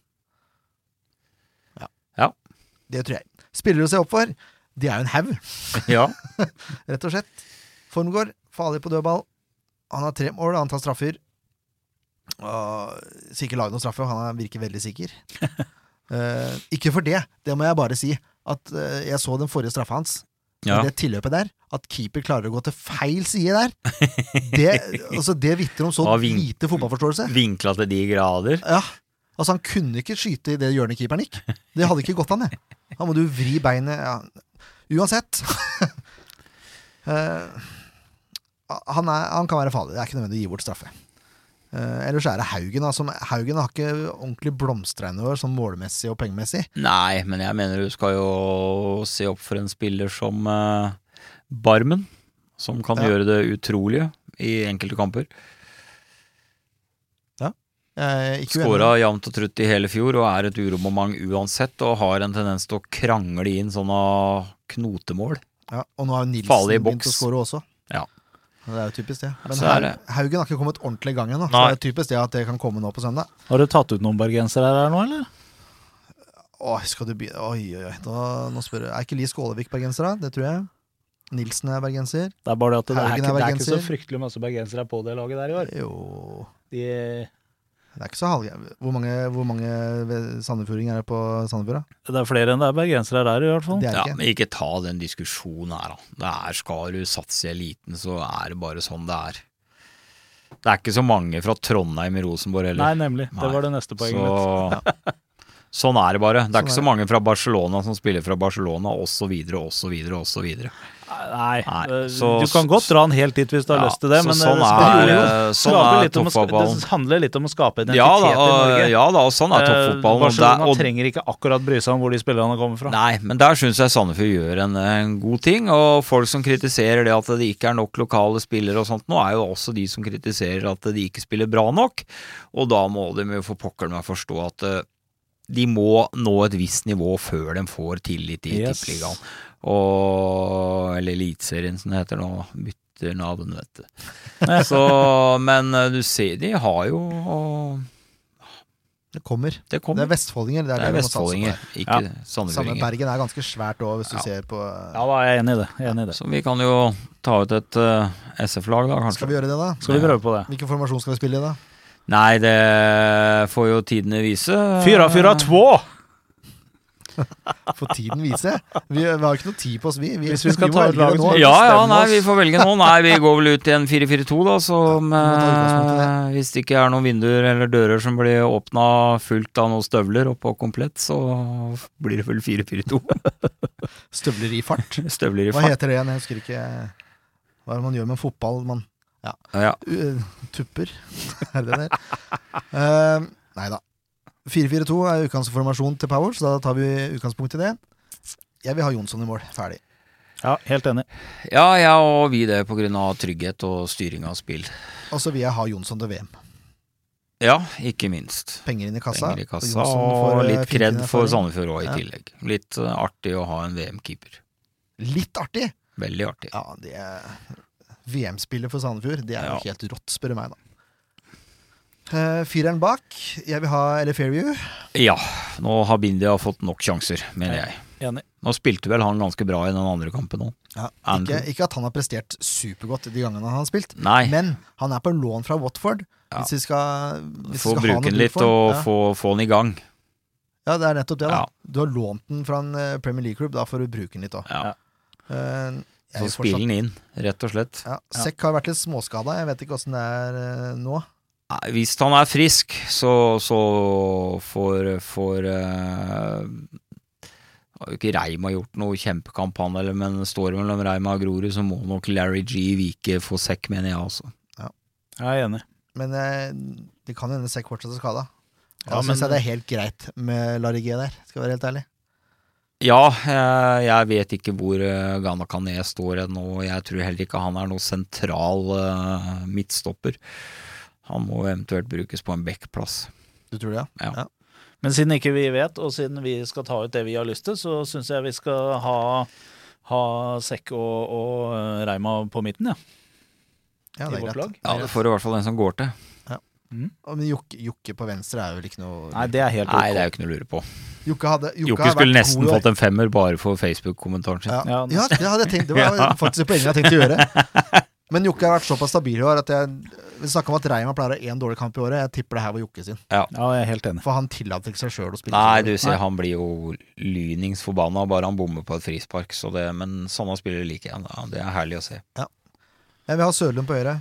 A: Ja.
F: Ja.
A: Det tror jeg. Spiller å se opp for, de er jo en haug.
F: <laughs> Ja.
A: rett og slett. Formgård, farlig på dødball. Han har tre mål, han tar straffer. Og sikkert lager noen straffer, han er- virker veldig
F: <laughs>
A: sikker. Eh, ikke for det, det må jeg bare si. At eh, jeg så den forrige straffa hans,
F: ja.
A: i det tilløpet der. At keeper klarer å gå til feil side der.
F: <laughs>
A: Det, altså, det vitner om så
F: Av vink-
A: lite fotballforståelse.
F: Vinkla til de grader.
A: Ja, altså Han kunne ikke skyte i det hjørnet keeperen gikk. Det hadde ikke gått an, det. Da må du vri beinet ja. Uansett. <laughs> Eh, han, er, han kan være farlig. Det er ikke nødvendig å gi bort straffe. Eh, ellers er det Haugen. da, som Haugen har ikke ordentlig blomstra i år, sånn målmessig og pengemessig.
F: Nei, men jeg mener du skal jo se opp for en spiller som eh, Barmen. Som kan
A: Ja.
F: gjøre det utrolige i enkelte kamper.
A: Eh, ikke uenig.
F: Skåra jevnt og trutt i hele fjor og er et uromoment uansett. Og har en tendens til å krangle inn sånne knotemål.
A: Ja, og nå har jo
F: Farlig i
A: Nilsen
F: boks.
A: begynt å skåre også.
F: Ja.
A: Det er jo typisk det. Men
F: Så er
A: Hau-
F: det-
A: Haugen har ikke kommet ordentlig i gang ennå. Så
F: Nei.
A: det er typisk det at det kan komme nå på søndag.
C: Har du tatt ut noen bergensere her nå, eller?
A: Åh, skal du begynne Oi, oi, oi. Da, nå spør jeg. Er ikke Li Skålevik bergenser, da? Det tror jeg. Nilsen er bergenser.
C: Det er bare det at det er,
A: Haugen
C: ikke,
A: er
C: det er ikke så
A: bergenser.
C: fryktelig masse bergensere på det laget der i år.
A: Jo
C: De,
A: Det er ikke så halvgøy. Hvor mange, hvor mange ved- sandefjordinger er det på Sandefjord, da?
C: det er flere enn det er bergensere der i hvert fall.
A: Det er
F: Ja,
A: det ikke.
F: men ikke ta den diskusjonen her, da. Det er Skal du satse i eliten, så er det bare sånn det er. Det er ikke så mange fra Trondheim i Rosenborg
C: Nei,
F: heller.
C: nemlig. Det
F: Nei.
C: var det neste poenget mitt.
F: så <laughs> Sånn er det bare. Det er
A: Sånn
F: ikke
A: er
F: så mange fra Barcelona som spiller fra Barcelona, osv., osv., osv.
C: Nei,
F: Nei,
C: eh,
F: så-
C: du kan godt dra den helt dit hvis du har
F: Ja,
C: lyst til det,
F: så
C: men eh,
F: sånn
C: det skal- <laughs>
F: er,
C: jo, jo,
F: eh,
C: det
F: sånn
C: skaper
F: er
C: litt om å sk-
F: toppfotballen.
C: Det handler litt om å skape identitet
F: Ja da,
C: i Norge.
F: og, ja da, og sånn er
C: Eh,
F: toppfotballen. og
C: Barcelona
F: der- og
C: trenger ikke akkurat bry seg om hvor de spillerne kommer fra.
F: Nei, men der syns jeg Sandefjord gjør en, en god ting. Og folk som kritiserer det at det ikke er nok lokale spillere og sånt, nå er jo også de som kritiserer at de ikke spiller bra nok. Og da må de jo for pokker meg forstå at eh, de må nå et visst nivå før de får tillit i
C: Yes.
F: Tippeligaen. Og Eller Eliteserien, som det heter nå. Bytter navn,
A: <laughs>
F: vet du. Så, men eh, du ser, de har jo
A: Det kommer.
F: Det
A: Det er
F: kommer.
A: vestfoldinger. Det
F: Det
A: er,
F: er
A: det vi må satse på
F: vestfoldinger,
A: her.
F: ikke
C: Ja.
A: Samme
F: sandefjordinger.
A: Bergen er ganske svært òg, hvis du
F: Ja.
A: ser på
C: Ja da, jeg er enig i det. Jeg er enig i det.
F: Så vi kan jo ta ut et eh, SF-lag, da, kanskje.
A: Skal vi gjøre det, da?
C: Skal vi prøve på det?
A: Hvilken formasjon skal vi spille i, da?
F: Nei, det får jo tidene vise.
C: Fyra, fyra, två!
A: Får tiden vise. Vi, vi har ikke noe tid på oss, vi. vi
C: Hvis vi skal
A: må
C: ta
A: velge
C: ut
A: det
C: laget
A: nå.
C: som-
F: Ja, ja,
C: Bestemme
F: nei,
C: oss.
F: vi får velge nå. Nei, vi går vel ut i en 4-4-2, da, som
A: Ja, vi må ta utgangspunkt
F: eh, Hvis det ikke er noen vinduer eller dører som blir åpna fullt av noen støvler oppå komplett, så blir det vel
A: <laughs>
F: 4-4-2.
A: Støvler i fart.
F: Støvler i
A: Hva
F: fart.
A: heter det igjen? Jeg husker ikke. Hva er det man gjør med fotball? Man
F: Ja,
A: u- tupper? <laughs> er det det der? Uh, nei da. 4-4-2 er ukens formasjon til Power, så da tar vi utgangspunkt i det. Jeg vil ha Jonsson i mål. Ferdig.
C: Ja, helt enig.
F: ja, ja og vi det på grunn av trygghet og styring av spill.
A: Og så vil jeg ha Jonsson til VM.
F: Ja, ikke minst.
A: Penger inn i kassa.
F: Penger i
A: og
F: kassa,
A: Jonsson Altså, får,
F: og
A: eh,
F: litt
A: fint
F: kred
A: inn i
F: for
A: erfaring.
F: Sandefjord òg, i
A: Ja.
F: tillegg. Litt eh, artig å ha en VM-keeper.
A: Litt artig!
F: Veldig artig.
A: Ja, det VM-spillet for Sandefjord, det er jo
F: Ja.
A: helt rått, spør du meg, da. Eh, Fireren bak, jeg vil ha Eller Fairview.
F: Ja, nå har Bindia fått nok sjanser, mener jeg.
C: Enig.
F: Nå spilte vel han ganske bra i den andre kampen òg.
A: ikke,
F: Andrew.
A: ikke at han har prestert supergodt de gangene han har spilt,
F: Nei,
A: men han er på lån fra Watford.
F: Ja.
A: Hvis vi skal, hvis
F: få
A: vi skal ha
F: bruke
A: noe
F: den
A: bruk
F: litt
A: for den.
F: og
A: ja.
F: få, få den i gang.
A: ja, det er nettopp det. da
F: Ja.
A: Du har lånt den fra en eh, Premier League-klubb, da får du bruke den litt òg.
F: Ja.
A: Uh,
F: Så spill den inn, rett og slett.
A: ja. Sekk har vært litt småskada, jeg vet ikke åssen det er eh, nå.
F: Nei, Hvis han er frisk, så, så får, får eh, Har jo ikke Reima gjort noe kjempekamp, han heller, men står det mellom Reima og Grorud, så må nok Larry G vike for sekk, mener jeg altså. også.
C: Jeg er enig.
A: Men eh, det kan hende Sekk fortsatt er skada. Da
C: Ja,
A: synes
C: men-
A: jeg det er helt greit med Larry G der, skal jeg være helt ærlig.
F: Ja, eh, jeg vet ikke hvor eh, Ghana Kané står ennå. og Jeg tror heller ikke han er noen sentral eh, midtstopper. Han må eventuelt brukes på en backplass.
A: Du tror det, ja?
C: Men siden ikke vi vet, og siden vi skal ta ut det vi har lyst til, så syns jeg vi skal ha, ha Sekk og, og eh, Reima på midten, ja.
A: Ja,
C: I
A: det er
C: vårt
A: greit.
C: lag.
F: Ja, Det får i hvert fall en som går til.
A: Å, Men Jokke, Jokke på venstre er vel ikke noe
C: Nei, det er helt
F: Nei,
C: ok.
F: det er jo ikke noe å lure på.
A: Jokke, hadde, Jokke,
F: Jokke
A: har
F: skulle
A: vært
F: nesten
A: god i år.
F: fått en femmer bare for Facebook-kommentaren sin.
A: ja.
C: Ja,
A: ja, det hadde jeg tenkt.
F: <laughs>
A: Det var faktisk et poeng jeg tenkte å gjøre. Men Jokke har vært såpass stabil i år at jeg Vi snakka om at Reima pleier å ha én dårlig kamp i året. Jeg tipper det her var Jokke sin.
C: Ja, jeg er helt enig.
A: For han tillater ikke seg sjøl å spille.
F: Nei,
A: så
F: du
A: dårlig.
F: ser han blir jo lynings forbanna bare han bommer på et frispark. Så det, men sånne spillere liker jeg. Ja, Det er herlig å se.
A: Jeg vil ha Sørlund på høyre.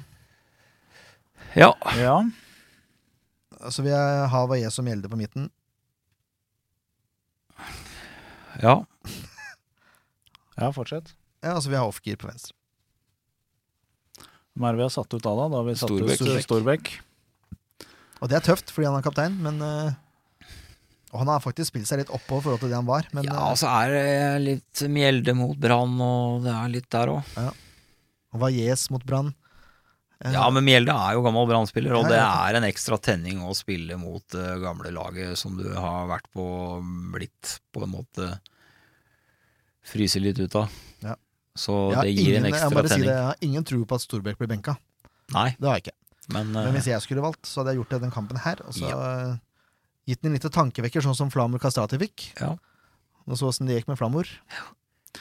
F: Ja,
C: Ja,
A: Så vil jeg ha Vaje som gjelder på midten.
F: ja.
C: ja fortsett.
A: Ja, altså, Og så vil jeg ha offgear på venstre.
C: Hvem er det vi har satt ut da, da? Da har vi satt
F: Storbekk.
C: ut eh, Storbekk.
A: Og det er tøft, fordi han er kaptein, men eh, Og han har faktisk spilt seg litt oppå i forhold til det han var, men
F: ja, altså.
A: eh,
F: så er det litt Mjelde mot Brann, og det er litt der òg.
A: han var yes mot Brann. Eh,
F: Ja, men Mjelde er jo gammel brannspiller,
A: Ja,
F: og det
A: ja.
F: er en ekstra tenning å spille mot det gamle laget som du har vært på, blitt på en måte fryse litt ut av.
A: Ja.
F: Så
A: jeg har
F: det gir
A: ingen- jeg
F: en
A: må
F: ekstra
A: bare si
F: tenning.
A: det, jeg har ingen tro på at Storbekk blir benka.
F: Nei,
A: Det har jeg ikke.
F: men,
A: Men
F: eh,
A: hvis jeg skulle valgt, så hadde jeg gjort det i den kampen her. Og så eh, gitt den en liten tankevekker, sånn som Flamor Kastrati fikk.
F: Ja.
A: Og så åssen det gikk med Flamor.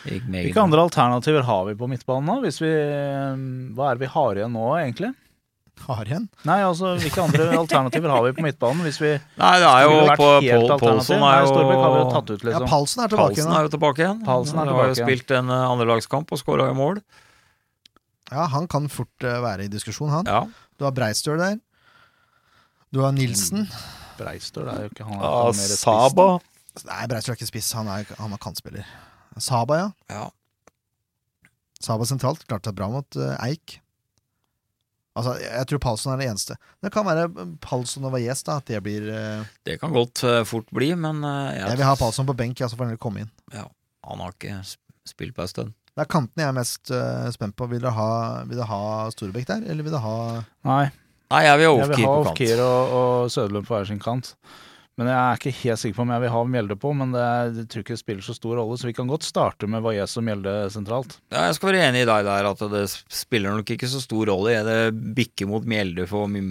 F: det gikk meget
C: Hvilke andre alternativer har vi på midtbanen nå? Hvis vi, eh, hva er det vi har igjen nå, egentlig?
A: <laughs> Har igjen.
C: Nei, altså, hvilke
F: <laughs>
C: andre alternativer har vi på midtbanen? Hvis vi
F: Nei, det er
C: skulle
F: jo
C: vært
F: på
C: helt
F: Pol-
C: alternativ?
F: Polson
C: Nei,
F: er
C: Storbekk har vi jo
F: jo
C: tatt ut,
A: Ja,
C: liksom.
A: Palsen er tilbake
F: Palsen
A: igjen.
F: er jo tilbake igjen.
C: Paulsen er
F: Han har jo
C: tilbake igjen.
F: spilt en eh, andrelagskamp og skåra jo mål.
A: Ja, han kan fort eh, være i diskusjon, han.
F: Ja.
A: Du har Breistøl der. Du har Nilsen.
C: Breistøl er jo ikke han er ikke
G: Ah,
C: noe mer spiss.
G: Saba.
F: Mm.
A: Nei, Breistøl er ikke spiss, han er, han er kantspiller. Saba, ja.
F: Ja.
A: Saba sentralt klarte seg bra mot eh, Eik. Altså, jeg- jeg tror Palsson er det eneste. Det kan være eh, Palsson og Valles, da. At det blir eh,
F: Det kan godt eh, fort bli, men eh, jeg,
A: Jeg vil ha Palsson på benk, ja, så får han heller komme inn.
F: han har ikke sp- spilt på en stund.
A: Det er kantene jeg er mest eh, spent på. Vil dere ha, vil dere ha Storebekk der, eller vil dere ha
C: Nei,
F: Nei, jeg vil
C: jeg vil
F: ha Ofkir
C: ha
F: på kant.
C: Ofkir og, og Søderlund på hver sin kant. Men jeg er ikke helt sikker på om jeg vil ha Mjelde på, men det er, jeg tror ikke det spiller så stor rolle, så vi kan godt starte med Valles og Mjelde sentralt.
F: Ja, jeg skal være enig i deg der, at det spiller nok ikke så stor rolle. Det bikker mot Mjelde for min,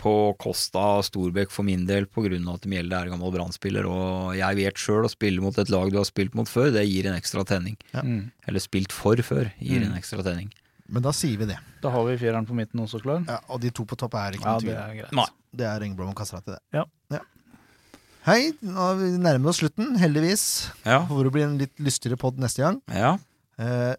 F: på Kosta Storbekk for min del, på grunn av at Mjelde er gammel brannspiller. Og jeg vet sjøl, å spille mot et lag du har spilt mot før, det gir en ekstra tenning.
A: Ja.
C: Mm.
F: Eller spilt for før, gir
C: Mm.
F: en ekstra tenning.
A: Men da sier vi det.
C: Da har vi fireren på midten også klar.
A: Ja, og de to på topp er ikke
C: Ja,
A: noen
C: det
A: tvil.
C: er greit.
F: Nei.
A: Det er Engblom og Kastrati, det.
C: Ja.
A: Hei, nå har vi nærmer oss slutten, heldigvis.
F: Ja,
A: Hvor det blir en litt lystigere pod neste gang.
F: ja.
A: Eh,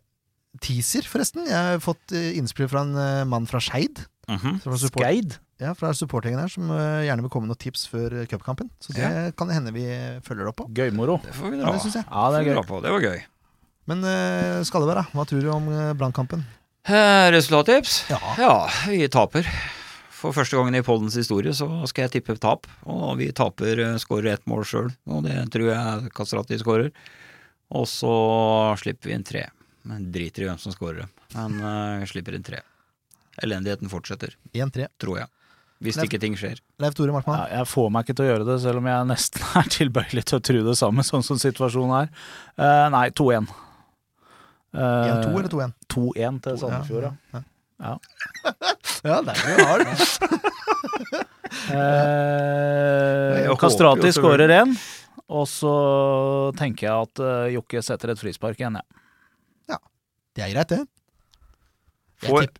A: teaser, forresten. Jeg har fått eh, innspill fra en eh, mann fra Skeid.
F: mhm.
A: Fra, support,
C: Skeid?
A: ja, fra supportgjengen her, som eh, gjerne vil komme med noen tips før eh, cupkampen. Så det kan det hende vi eh, følger opp på.
C: Gøymoro.
F: Det får vi
A: Ja.
F: dra.
A: Det synes jeg.
C: Ja, det
F: Får
C: er
F: vi
C: gøy.
F: dra på. Det var gøy.
A: Men uh, Skalleberg, da, hva tror du om uh, Brannkampen?
F: Eh, Resultattips?
A: Ja.
F: vi taper. For første gangen i poddens historie så skal jeg tippe tap. Og vi taper, eh, skårer ett mål sjøl, og det tror jeg Kastrati skårer. Og så slipper vi inn tre. Men driter i hvem som skårer dem. Men eh, slipper inn tre. Elendigheten fortsetter,
A: 1-3.
F: tror jeg. Hvis
A: Nei.
F: ikke ting skjer.
A: Leif Tore Markmann.
C: Ja, jeg får meg ikke til å gjøre det, selv om jeg nesten <laughs> er tilbøyelig til å tro det samme, sånn som situasjonen er. Eh, nei, 2-1. Eh,
A: 1-2 eller 2-1?
C: 2-1 til Sandefjord, ja.
A: <laughs> Ja, der vi har det.
C: Eh,
F: Jeg håper jo
C: Kastrati
F: selvfølgelig.
C: skårer én, og så tenker jeg at eh, Jokke setter et frispark igjen, jeg.
A: Det er greit, det. Jeg
F: Får-
A: tipper-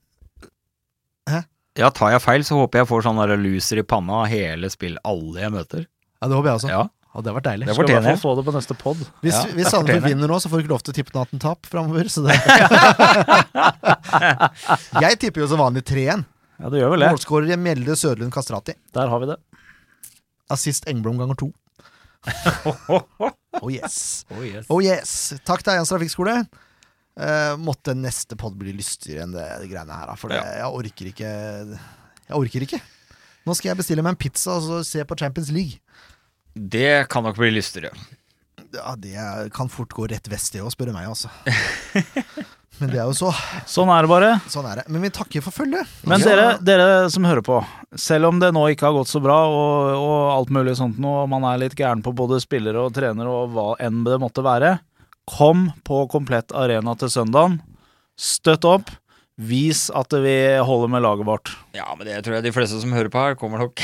F: Ja, tar jeg feil, så håper jeg får sånn der loser i panna av hele spill, alle jeg møter.
A: Ja, det håper jeg også.
F: Ja,
A: Og det har vært deilig.
F: det
C: Skal i hvert
F: fortjener
C: fall
F: jeg.
C: få det på neste pod.
A: Hvis,
F: Ja,
A: hvis
F: jeg
A: Sandefjord
F: fortjener.
A: vinner nå, så får du ikke lov til å tippe noe annet enn tap framover. Så det.
F: <laughs>
A: jeg tipper jo som vanlig 3-1.
C: Ja, det gjør vel det.
A: Målskårer Mjelde Søderlund Kastrati.
C: Der har vi det.
A: Assist Engblom ganger
F: <laughs>
A: to. Oh yes.
F: Oh, yes.
A: Oh yes. Takk til Eians trafikkskole. Eh, måtte neste pod bli lystigere enn det greiene her, da, for det, jeg orker ikke Jeg orker ikke. Nå skal jeg bestille meg en pizza og så se på Champions League.
F: Det kan nok bli lystigere.
A: Ja, Det kan fort gå rett vest, det òg, spør du meg,
C: <laughs>
A: altså. Men det er jo så.
C: Sånn er det bare.
A: Sånn er det. Men vi takker for følget.
C: Men
A: Ja.
C: dere, dere som hører på, selv om det nå ikke har gått så bra og, og alt mulig sånt nå, og man er litt gæren på både spillere og trenere og hva enn det måtte være, kom på Komplett Arena til søndagen. Støtt opp. Vis at vi holder med laget vårt.
F: Ja, men det tror jeg de fleste som hører på her, kommer nok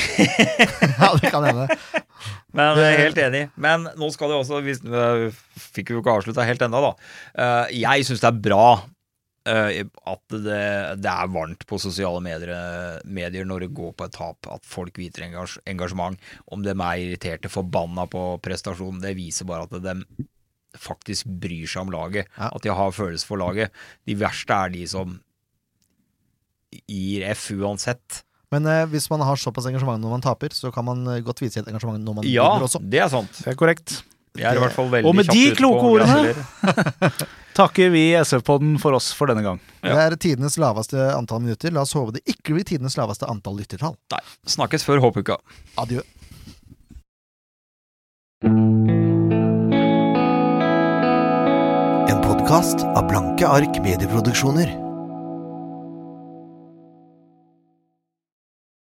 A: <laughs> Ja, det kan hende.
F: Men
C: eh,
F: jeg er helt enig. Men nå skal det også hvis, øh, Fikk vi jo ikke avslutta helt ennå, da. Eh, Jeg syns det er bra eh, at det, det er varmt på sosiale medier, eh, medier når det går på et tap, at folk viser engasj engasjement. Om de er irriterte, forbanna på prestasjonen, det viser bare at de faktisk bryr seg om laget.
A: Ja.
F: At de har følelse for laget. De verste er de som gir F uansett.
A: Men eh, hvis man har såpass engasjement når man taper, så kan man eh, godt vise et engasjement når man
F: Ja,
A: vinner også.
F: det er sant.
C: Det er korrekt.
F: Jeg er i hvert fall veldig
C: Og med de
F: kjapt ute på å
C: kloke ordene-
F: gratulere.
C: Takker vi i SF-podden for oss for denne gang.
A: Det er tidenes laveste antall minutter. La oss håpe det ikke blir tidenes laveste antall lyttertall.
F: Nei. Snakkes før håpuka.
A: Adjø.
B: En podkast av Blanke ark medieproduksjoner.